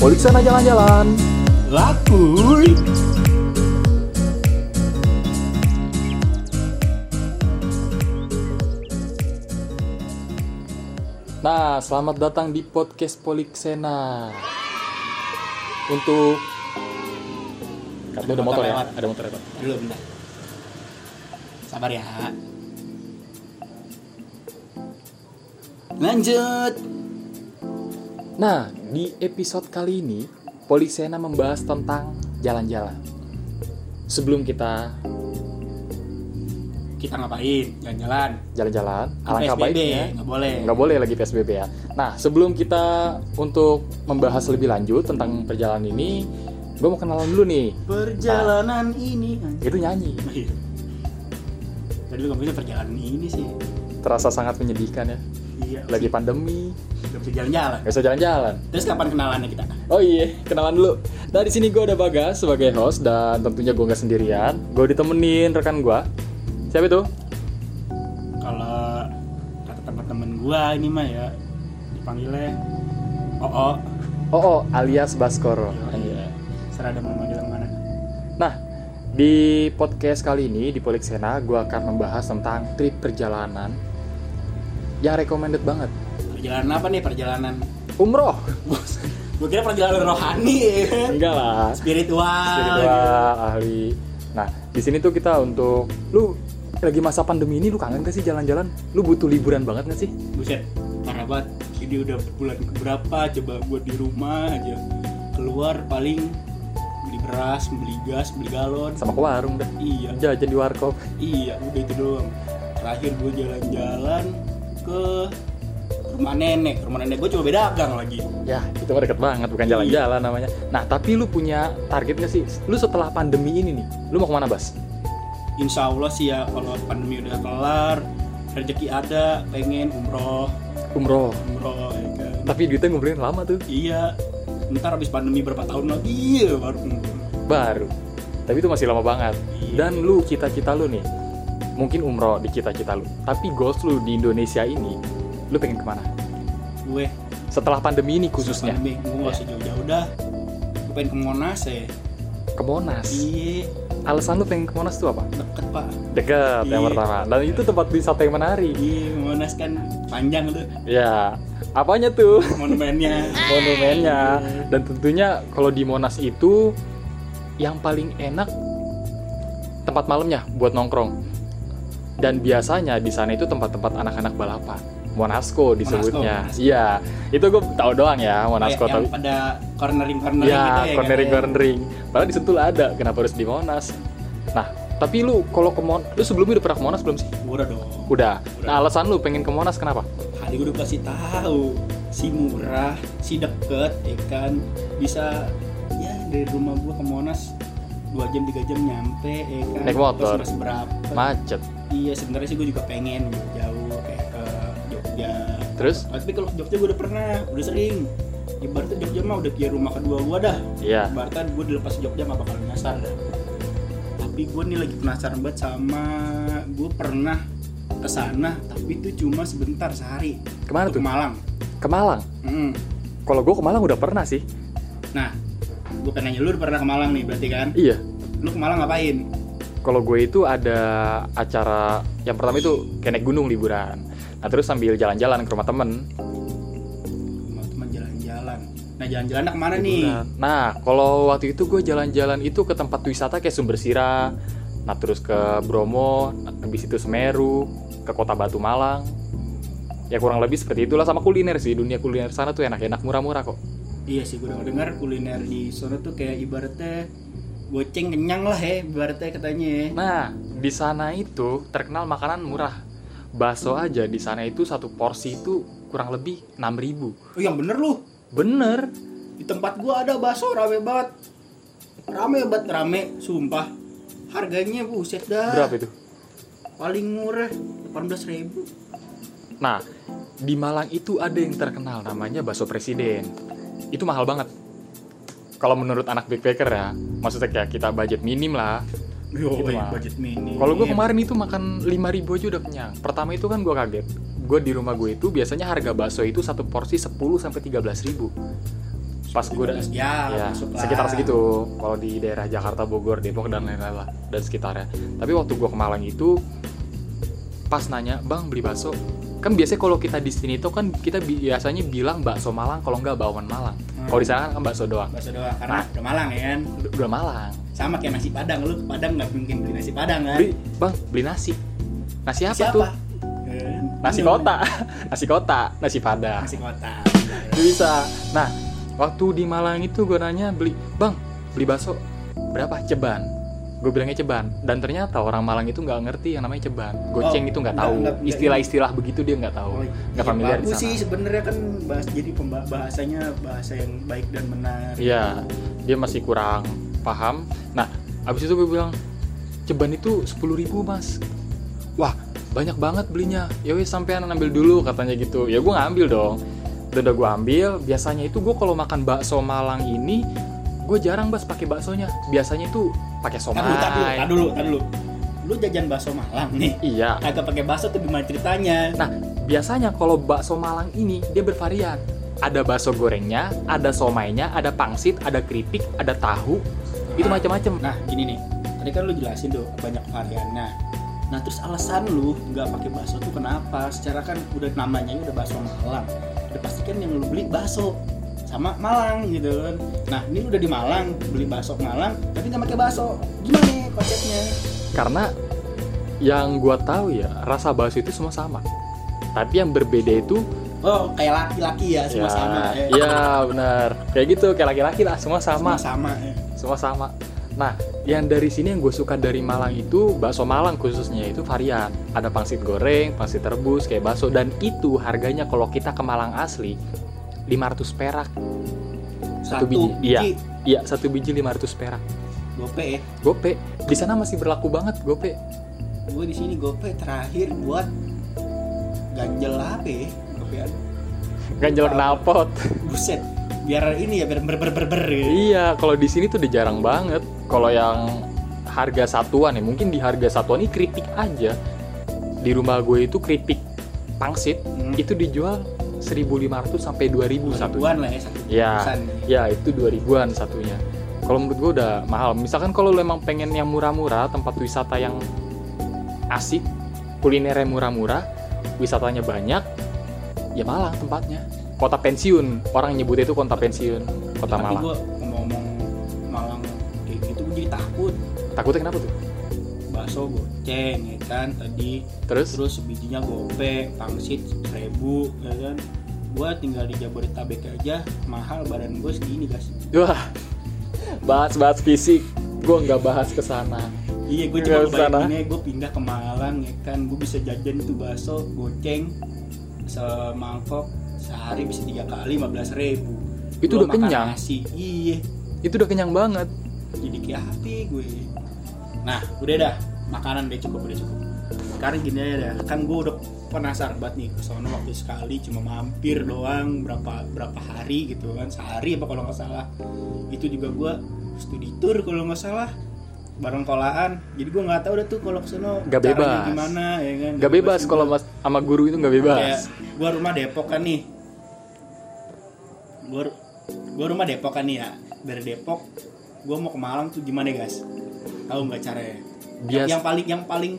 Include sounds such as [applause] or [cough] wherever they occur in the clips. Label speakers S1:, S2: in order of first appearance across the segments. S1: Polik sana jalan-jalan.
S2: Lakuy.
S1: Nah, selamat datang di podcast Poliksena. Untuk Itu ada motor ya?
S2: lewat.
S1: Ada motor lewat.
S2: Dulu bentar. Sabar ya. Lanjut.
S1: Nah, di episode kali ini Poliksena membahas tentang jalan-jalan. Sebelum kita
S2: Kita ngapain? Jalan-jalan.
S1: jalan-jalan,
S2: Kan
S1: alangkah
S2: PSBB,
S1: baiknya
S2: nggak boleh.
S1: nggak boleh lagi PSBB ya. Nah, sebelum kita untuk membahas lebih lanjut tentang perjalanan ini, gue mau kenalan dulu nih.
S2: Perjalanan ini.
S1: Itu nyanyi.
S2: Tadi lu ngomongnya perjalanan ini sih.
S1: Terasa sangat menyedihkan ya.
S2: Iya.
S1: Lagi pandemi,
S2: Gak bisa jalan-jalan.
S1: nggak bisa jalan-jalan.
S2: Terus kapan kenalannya kita?
S1: Oh iya, kenalan dulu. Nah di sini gue ada Bagas sebagai host dan tentunya gue nggak sendirian. Gue ditemenin rekan gue. Siapa itu?
S2: Kalau kata teman-teman gua ini mah ya dipanggilnya Oo.
S1: Oh, oh alias Baskoro.
S2: Iya. Serada mau manggil yang mana?
S1: Nah di podcast kali ini di Poliksena gue akan membahas tentang trip perjalanan yang recommended banget.
S2: Perjalanan apa nih perjalanan? [laughs]
S1: Umroh.
S2: Gue kira perjalanan rohani ya kan?
S1: Enggak lah. Ah,
S2: Spiritual. gitu.
S1: Spiritual, ahli. Nah di sini tuh kita untuk lu lagi masa pandemi ini lu kangen gak sih jalan-jalan? Lu butuh liburan banget gak sih?
S2: Buset, parah banget. Ini udah bulan keberapa coba gue di rumah aja. Keluar paling beli beras, beli gas, beli galon.
S1: Sama ke warung dah.
S2: Iya,
S1: Jajan di warkop.
S2: iya udah itu doang. Terakhir gue jalan-jalan ke rumah nenek. Rumah nenek gue cuma beda dagang lagi.
S1: Ya, itu mah deket banget, bukan jalan-jalan namanya. Nah, tapi lu punya target nggak sih? Lu setelah pandemi ini nih, lu mau kemana, Bas?
S2: Insya Allah sih ya kalau pandemi udah kelar, rezeki ada, pengen umroh,
S1: Umroh.
S2: umroh ya kan.
S1: Tapi duitnya ngumpulin lama tuh,
S2: Iya, ntar habis pandemi berapa tahun lagi iya baru kumpul.
S1: baru. Tapi itu masih lama banget. Dan lu cita-cita lu nih, mungkin umroh di cita-cita lu. Tapi goals lu di Indonesia ini, lu pengen kemana?
S2: gue
S1: Setelah pandemi ini khususnya,
S2: pandemi gue nggak usah jauh-jauh dah. Gue pengen ke Monas ya.
S1: ke Monas.
S2: Iya,
S1: Alasan lu pengen ke Monas tuh apa?
S2: deket pak.
S1: Deket yang
S2: Iya.
S1: pertama. Dan itu tempat wisata yang menarik.
S2: Iya, Monas kan panjang tuh
S1: Ya, apanya tuh?
S2: monumennya.
S1: [laughs] monumennya dan tentunya kalau di Monas itu yang paling enak tempat malamnya buat nongkrong dan biasanya di sana itu tempat-tempat anak-anak balapan Monasco disebutnya
S2: Monasco.
S1: iya itu gue tahu doang ya Monasco
S2: Kayak yang
S1: tapi
S2: pada cornering cornering
S1: ya
S2: gitu ya.
S1: cornering
S2: kan?
S1: cornering padahal di Sentul ada kenapa harus di Monas nah tapi lu kalau ke Mon lu sebelumnya udah pernah ke Monas belum sih
S2: Murah dong.
S1: udah
S2: Udah.
S1: nah alasan lu pengen ke Monas kenapa
S2: Tadi gue udah kasih tahu si murah, si deket, ya kan bisa ya dari rumah gue ke Monas dua jam tiga jam nyampe ya kan
S1: Naik motor.
S2: Terus berapa
S1: macet
S2: iya sebenarnya sih gue juga pengen gitu, jauh kayak ke Jogja
S1: terus
S2: tapi kalau ke Jogja gue udah pernah udah sering ibaratnya Jogja mah udah kayak rumah kedua gue dah
S1: iya
S2: ibaratnya gue dilepas Jogja mah bakal nyasar dah tapi gue nih lagi penasaran banget sama gue pernah ke sana tapi itu cuma sebentar sehari
S1: kemana
S2: Ke
S1: tuh
S2: Malang
S1: ke Malang
S2: Mm.
S1: kalau gue ke Malang udah pernah sih
S2: nah gue pengen nanya lu udah pernah ke Malang nih berarti kan
S1: Iya,
S2: lu ke Malang ngapain
S1: kalau gue itu ada acara yang pertama itu kayak naik gunung liburan. Nah terus sambil jalan-jalan ke rumah temen.
S2: sama teman jalan-jalan nah jalan-jalan kemana nih
S1: Liburan. Nah kalau waktu itu gue jalan-jalan itu ke tempat wisata kayak Sumber Sira, nah terus ke Bromo, nah, habis itu Semeru, ke Kota Batu Malang. Ya kurang lebih seperti itulah sama kuliner sih dunia kuliner sana tuh enak-enak murah-murah kok.
S2: Iya sih gue dengar kuliner di sana tuh kayak ibaratnya goceng kenyang lah ya ibaratnya katanya ya.
S1: Nah di sana itu terkenal makanan murah. Bakso aja di sana itu satu porsi itu kurang lebih 6.000.
S2: Oh yang bener lu
S1: Bener,
S2: di tempat gua ada bakso rame banget. Rame banget rame sumpah. Harganya buset dah.
S1: berapa itu?
S2: Paling murah 18 ribu.
S1: Nah, di Malang itu ada yang terkenal namanya bakso presiden. Itu mahal banget. Kalau menurut anak backpacker ya, maksudnya kayak kita budget minim lah. Gitu, Mak.
S2: budget mini.
S1: Kalau gue kemarin itu makan 5.000 aja udah kenyang. Pertama itu kan gue kaget. Gue di rumah gue itu biasanya harga bakso itu satu porsi 10 sampai 13.000. Pas gua udah-
S2: 17 jam
S1: ya
S2: masuk lah.
S1: sekitar segitu kalau di daerah Jakarta Bogor Depok dan lain-lain lah dan sekitarnya tapi waktu gua ke Malang itu pas nanya bang beli bakso kan biasanya kalau kita di sini tuh kan kita bi- biasanya bilang bakso Malang kalau nggak bawang Malang
S2: Hmm.
S1: kalau di sana kan bakso doang
S2: bakso doang karena udah Malang ya kan
S1: Udah- udah Malang
S2: sama kayak nasi padang lu ke padang nggak mungkin beli nasi padang kan
S1: beli bang beli nasi nasi apa
S2: Siapa?
S1: tuh
S2: Eh,
S1: nasi
S2: bener.
S1: kota [laughs] nasi kota nasi padang
S2: nasi kota
S1: Nggak [laughs] bisa nah waktu di Malang itu gue nanya beli bang beli bakso berapa ceban gue bilangnya ceban dan ternyata orang Malang itu nggak ngerti yang namanya ceban goceng
S2: Oh,
S1: itu nggak
S2: nggak-
S1: tahu
S2: nggak- nggak-
S1: istilah-istilah begitu dia nggak tahu Oh, nggak
S2: iya,
S1: familiar di
S2: bagus
S1: sana
S2: sih sebenarnya kan bahas jadi pemba- bahasanya bahasa yang baik dan benar
S1: iya dia masih kurang paham nah abis itu gue bilang ceban itu sepuluh ribu mas wah banyak banget belinya ya wes sampean ambil dulu katanya gitu ya gue ngambil dong dan udah gue ambil biasanya itu gue kalau makan bakso Malang ini gue jarang bas pakai baksonya biasanya itu pakai
S2: Tar dulu, tar dulu, tar
S1: somai
S2: dulu, tar dulu. Lu jajan bakso Malang nih.
S1: iya
S2: Agak pakai bakso tuh gimana ceritanya?
S1: nah biasanya kalau bakso Malang ini dia bervarian ada bakso gorengnya ada somainya ada pangsit ada keripik ada tahu itu macam-macam
S2: Nah, gini nih. Tadi kan lu jelasin tuh banyak variannya. Nah, terus alasan lu nggak pakai bakso tuh kenapa? Secara kan udah namanya udah bakso Malang. Udah pasti kan yang lu beli bakso sama Malang gitu kan. Nah, ini lu udah di Malang, beli bakso ke Malang, tapi nggak pakai bakso. Gimana nih konsepnya?
S1: karena yang gua tahu ya rasa bakso itu semua sama tapi yang berbeda itu
S2: Oh, kayak laki-laki ya, semua
S1: ya,
S2: sama. eh.
S1: iya benar kayak gitu kayak laki-laki lah semua sama
S2: Semua sama. eh.
S1: semua sama nah yang dari sini yang gue suka dari Malang itu bakso Malang khususnya itu varian ada pangsit goreng pangsit rebus kayak bakso dan itu harganya kalau kita ke Malang asli 500 perak Satu biji, iya.
S2: biji,
S1: iya satu biji 500 perak
S2: gope ya.
S1: gope di sana masih berlaku banget gope
S2: gue di sini gope terakhir buat ganjel apa ya gopean
S1: ganjel knalpot
S2: buset biar ini ya biar ber ber ber ber gitu.
S1: Iya, kalau di sini tuh udah jarang banget. Kalau yang harga satuan ya, mungkin di harga satuan ini keripik aja. Di rumah gue itu keripik pangsit
S2: Hmm,
S1: itu dijual 1.500 sampai 2.000 satu.
S2: satuan lah ya satu
S1: Iya.
S2: bungkusan.
S1: Ya, itu 2.000-an satunya. Kalau menurut gue udah mahal. Misalkan kalau lo emang pengen yang murah-murah, tempat wisata yang asik, kulinernya murah-murah, wisatanya banyak, ya Malang tempatnya. Kota pensiun, orang nyebut itu kota pensiun, kota
S2: tapi
S1: Malang.
S2: gue ngomong-ngomong Malang kayak gitu gue jadi takut
S1: Takutnya kenapa tuh?
S2: bakso goceng ya kan tadi
S1: Terus?
S2: terus sebijinya gope pangsit seribu ya kan gue tinggal di Jabodetabek aja mahal badan gue segini guys
S1: Wah, bahas-bahas fisik, gue nggak bahas ke sana.
S2: Iya, gue
S1: Nggak
S2: cuma
S1: usah, nah.
S2: bayanginnya gue pindah ke Malang ya kan, gue bisa jajan tuh bakso goceng semangkok sehari bisa tiga kali 15.000 ribu.
S1: Itu udah kenyang.
S2: Nasi. Iya,
S1: Itu udah kenyang banget.
S2: jadi kayak ya hati gue. Nah, udah dah makanan deh cukup udah cukup. Sekarang gini aja dah, kan gue udah penasaran banget nih ke sono waktu sekali cuma mampir doang berapa berapa hari gitu kan sehari apa kalau nggak salah itu juga gue studi tour kalau nggak salah bareng kolaan jadi gue nggak tahu udah tuh kalau kesana
S1: Nggak
S2: caranya
S1: bebas.
S2: gimana ya kan
S1: Nggak bebas kalau mas sama guru itu nggak
S2: kayak
S1: bebas.
S2: gue rumah Depok kan nih gue gue rumah Depok kan nih ya dari Depok gue mau ke Malang tuh gimana ya guys tahu nggak caranya
S1: Bias-
S2: yang paling yang paling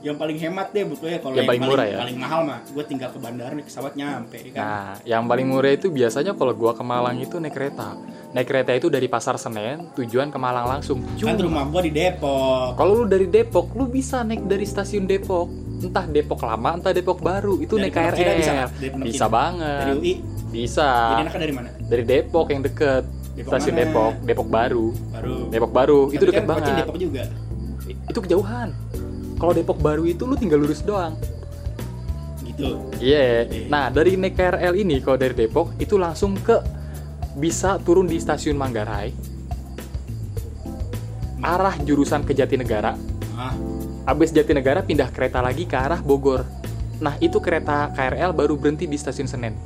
S2: yang paling hemat deh butuhnya kalau
S1: Yang paling murah ya?
S2: paling mahal mah gue tinggal ke bandara naik pesawat nyampe ya kan
S1: Nah, yang paling murah itu biasanya kalau gua ke Malang itu naik kereta. Naik kereta itu dari Pasar Senen tujuan ke Malang langsung.
S2: kan
S1: Cuma
S2: rumah gue di Depok
S1: kalau lu dari Depok, lu bisa naik dari stasiun Depok. Entah Depok lama, entah Depok baru, itu
S2: Dari
S1: naik
S2: Pondok Cina
S1: KRL.
S2: bisa
S1: Bisa,
S2: nggak? Dari Pondok Cina. dari
S1: banget.
S2: UI
S1: Bisa.
S2: jadi anaknya dari mana
S1: Dari Depok yang deket
S2: Depok
S1: stasiun
S2: mana?
S1: Depok, Depok baru.
S2: baru
S1: Depok baru itu
S2: Tapi
S1: deket
S2: kan Kocin
S1: banget.
S2: Depok juga
S1: itu kejauhan. Kalau Depok Baru itu lu tinggal lurus doang.
S2: gitu
S1: Iya. Nah, dari naik KRL ini kalau dari Depok itu langsung ke bisa turun di stasiun Manggarai. Arah jurusan ke Jatinegara.
S2: ah
S1: Abis Jatinegara pindah kereta lagi ke arah Bogor. Nah, itu kereta KRL baru berhenti di stasiun Senen.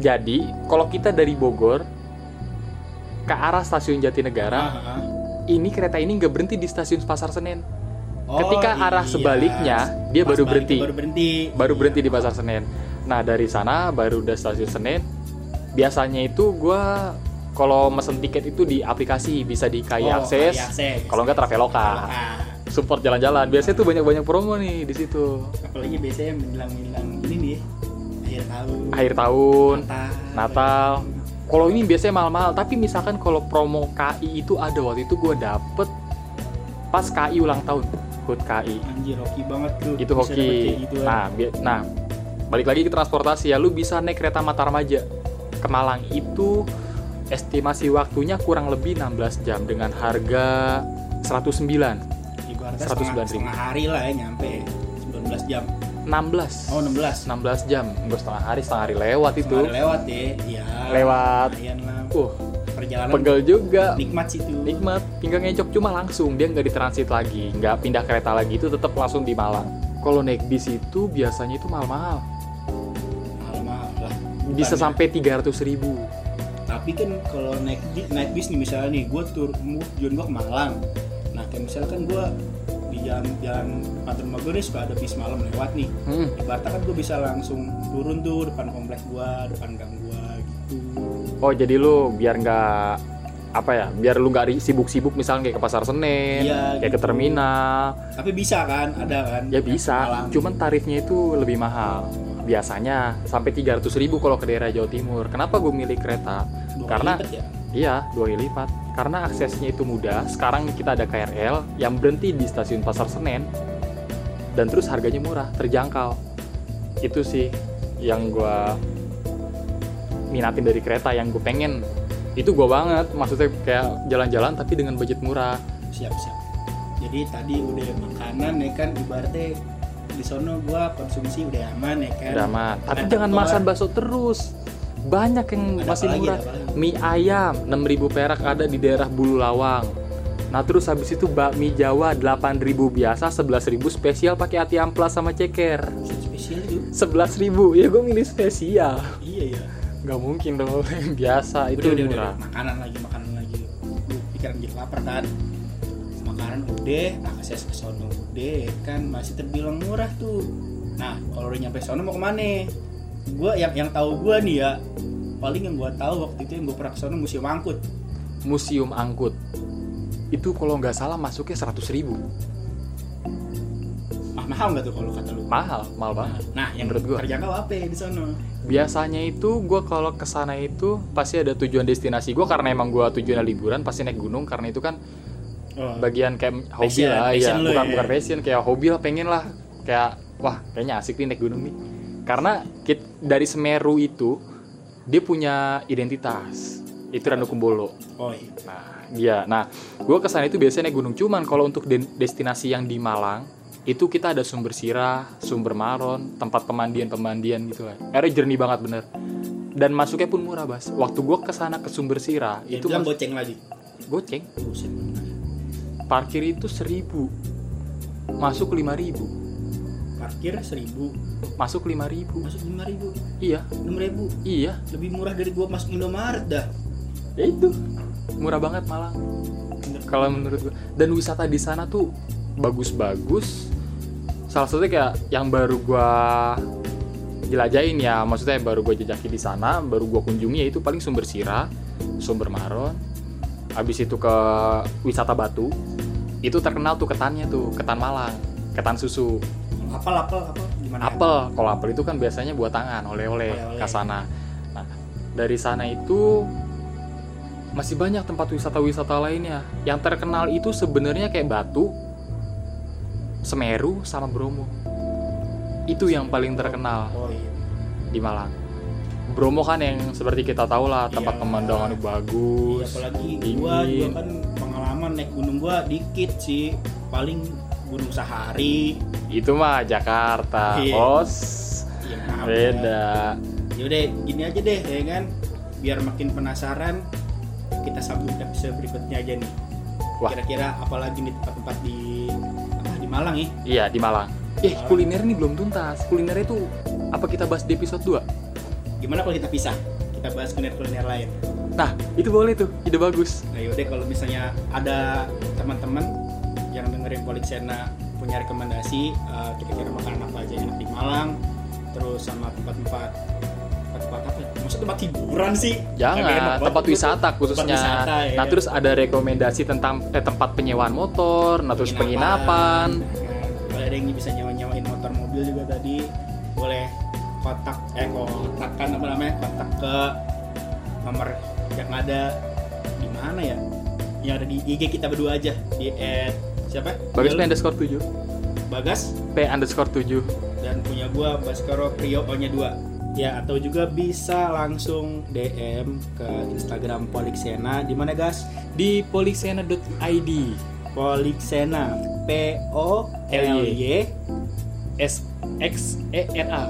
S1: Jadi, kalau kita dari Bogor ke arah stasiun Jatinegara,
S2: ah, ah.
S1: ini kereta ini nggak berhenti di stasiun Pasar Senen.
S2: Oh,
S1: Ketika arah sebaliknya, dia
S2: Pas
S1: baru
S2: balik
S1: berhenti.
S2: baru berhenti
S1: baru berhenti di pasar Senen. Nah dari sana baru udah stasiun Senen biasanya itu gue kalau mesen tiket itu di aplikasi bisa di KAI
S2: Oh,
S1: Akses,
S2: KAI Akses.
S1: kalau nggak Traveloka.
S2: Nah,
S1: Support jalan-jalan. Biasanya tuh banyak-banyak promo nih di situ.
S2: apalagi biasanya menjelang-menjelang ini nih akhir tahun
S1: Akhir tahun,
S2: Natal,
S1: Natal. Kalau ini biasanya mahal-mahal, tapi misalkan kalau promo KI itu ada waktu itu gue dapet pas KI ulang tahun, HUT KI.
S2: anjir hoki banget tuh
S1: Itu
S2: bisa dapet kayak gitu kan.
S1: hoki.
S2: gituan.
S1: Nah, bi- nah, balik lagi ke transportasi ya, lu bisa naik kereta Mataram aja ke Malang itu estimasi waktunya kurang lebih 16 jam dengan harga 109. 109
S2: ibaratnya setengah,
S1: ribu.
S2: setengah hari lah ya nyampe 19 jam
S1: 16.
S2: oh
S1: 16
S2: 16
S1: jam, enggak setengah hari, setengah hari lewat Nah, itu.
S2: Setengah hari lewat ya iya
S1: Lewat.
S2: lumayan lah
S1: Uh,
S2: perjalanan
S1: pegel juga,
S2: nikmat sih tuh
S1: nikmat tinggal ngecop cuma langsung dia nggak ditransit lagi nggak pindah kereta lagi itu tetap langsung di Malang kalau naik bis itu biasanya itu mahal-mahal
S2: mahal mahal lah
S1: bisa
S2: Bukannya.
S1: sampai 300.000 ribu
S2: tapi kan kalau naik di- naik bis nih misalnya nih gue tur mu- tujuan gue ke Malang nah kayak misalkan gue di jalan jalan depan rumah gue nih suka ada bis malam lewat nih
S1: hmm.
S2: ibaratnya kan gue bisa langsung turun tuh depan komplek gue depan gang gue gitu
S1: oh jadi lu biar nggak apa ya biar lu nggak ri- sibuk-sibuk misalnya kayak ke pasar Senen
S2: Iya,
S1: kayak ke
S2: gitu.
S1: terminal
S2: tapi bisa kan ada kan
S1: ya
S2: yang ke
S1: bisa
S2: Malang.
S1: cuman tarifnya itu lebih mahal biasanya sampai 300.000 ribu kalau ke daerah Jawa Timur kenapa gue milih kereta
S2: Dua kali
S1: karena-
S2: lipat ya?
S1: Iya, dua kali lipat. Karena aksesnya itu mudah, sekarang kita ada KRL yang berhenti di stasiun Pasar Senen dan terus harganya murah, terjangkau. Itu sih yang gua minatin dari kereta yang gue pengen. Itu gua banget, maksudnya kayak jalan-jalan tapi dengan budget murah.
S2: siap siap jadi tadi udah makanan ya kan ibaratnya di sono gue konsumsi udah aman ya kan
S1: Udah aman. Tapi
S2: Ada
S1: jangan
S2: potongan.
S1: makan bakso terus. Banyak yang
S2: Ada apa
S1: masih
S2: lagi,
S1: murah.
S2: ada apa lagi?
S1: Mie ayam 6000 perak ada di daerah Bulu Lawang. Nah terus habis itu bakmi Jawa 8000 biasa, 11000 spesial pakai ati amplas sama ceker.
S2: spesial tuh
S1: 11000 ya gue milih spesial.
S2: iya ya
S1: Gak mungkin dong [laughs] yang biasa itu
S2: udah, udah,
S1: murah.
S2: udah, makanan lagi makanan lagi lu pikiran jadi lapar kan makanan udah akses ke sono udah ya kan masih terbilang murah tuh nah kalau udah nyampe sono mau kemana gue yang yang tahu gue nih ya paling yang gue tahu waktu itu yang gue pernah ke sono museum angkut
S1: Museum angkut itu kalau nggak salah masuknya 100.000
S2: mah mahal nggak tuh kalau kata lu
S1: mahal mahal banget
S2: nah yang
S1: Menurut gua.
S2: terjangkau apa ya di sono
S1: biasanya itu gue kalau ke sana itu pasti ada tujuan destinasi gue karena emang gue tujuannya liburan pasti naik gunung karena itu kan
S2: oh,
S1: bagian kayak hobi
S2: Passion,
S1: lah
S2: passion
S1: ya
S2: lu
S1: bukan
S2: ya.
S1: bukan passion kayak hobi lah pengen lah kayak wah kayaknya asik nih naik gunung nih karena kit- dari Semeru itu dia punya identitas itu Ranu Kumbolo
S2: oh iya
S1: nah iya nah gue kesana itu biasanya naik gunung cuman kalau untuk den- destinasi yang di Malang itu kita ada sumber sirah sumber maron tempat pemandian pemandian gitu lah airnya jernih banget bener dan masuknya pun murah bas waktu gue kesana ke sumber sirah itu
S2: itu Iya, bilang
S1: mas-
S2: goceng lagi
S1: goceng
S2: buset
S1: parkir itu seribu masuk lima ribu
S2: parkir seribu
S1: masuk lima ribu
S2: masuk lima ribu
S1: iya
S2: enam ribu
S1: iya
S2: lebih murah dari gua masuk Indomaret dah
S1: ya itu murah banget malah kalau menurut gua dan wisata di sana tuh bagus-bagus salah satunya kayak yang baru gua jelajahin ya maksudnya yang baru gua jejaki di sana baru gua kunjungi yaitu paling sumber sirah sumber maron habis itu ke wisata batu itu terkenal tuh ketannya tuh ketan malang ketan susu
S2: apel apel apel gimana ya?
S1: apel kalau apel itu kan biasanya buat tangan oleh-oleh
S2: Oleh-oleh.
S1: ke sana nah dari sana itu masih banyak tempat wisata-wisata lainnya yang terkenal itu sebenarnya kayak Batu Semeru sama Bromo itu yang paling terkenal
S2: oh iya
S1: di Malang Bromo kan yang seperti kita tahu lah tempat
S2: Iya.
S1: pemandangan
S2: Iya,
S1: bagus
S2: apalagi gua
S1: dingin.
S2: juga kan pengalaman naik gunung gua dikit sih paling gunung sehari
S1: itu mah Jakarta
S2: Iya.
S1: bos
S2: ya maaf
S1: beda
S2: ya udah gini aja deh ya kan biar makin penasaran kita sambung episode berikutnya aja nih
S1: Wah.
S2: kira-kira apalagi nih tempat-tempat di apa di Malang ya
S1: Iya di Malang. Eh
S2: Malang.
S1: kuliner nih belum tuntas. Kulinernya tuh apa kita bahas di episode 2?
S2: gimana kalau kita pisah kita bahas kuliner-kuliner lain
S1: Nah itu boleh tuh, ide bagus.
S2: Nah yaudah kalau misalnya ada teman-teman yang dengerin Poliksena punya rekomendasi eh, kira-kira makanan apa aja yang enak di Malang terus sama tempat-tempat tempat tempat apa? Maksud tempat hiburan sih? Kagak enak
S1: Jangan,
S2: banget.
S1: tempat
S2: Gua tuh
S1: wisata khususnya.
S2: wisata, ya.
S1: Nah, terus ada rekomendasi tentang eh, tempat penyewaan motor, nah terus penginapan.
S2: Kalau ada yang bisa nyawa-nyawain motor mobil juga tadi, boleh kontak eh kontakkan apa namanya? Kontak ke nomor yang ada di mana ya? Yang ada di IG kita berdua aja di at siapa? Iya,
S1: Bagus P
S2: Lu?
S1: underscore 7.
S2: Bagas
S1: P underscore 7.
S2: dan punya gua Baskoro Prio O nya 2 ya atau juga bisa langsung DM ke Instagram Polixena di mana gas
S1: Di polisena.id
S2: Polixena P O L Y
S1: S X E N A.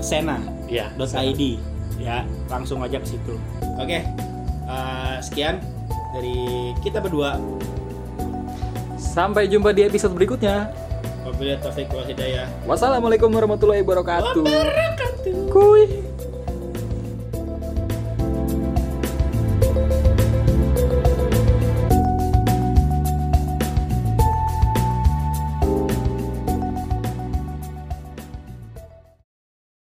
S2: Sena
S1: Ya,
S2: dot ID ya langsung aja ke situ oke eh, sekian dari kita berdua
S1: Sampai jumpa di episode berikutnya.
S2: wabillahi taufiq wal hidayah
S1: Wassalamualaikum warahmatullahi wabarakatuh. Kuy.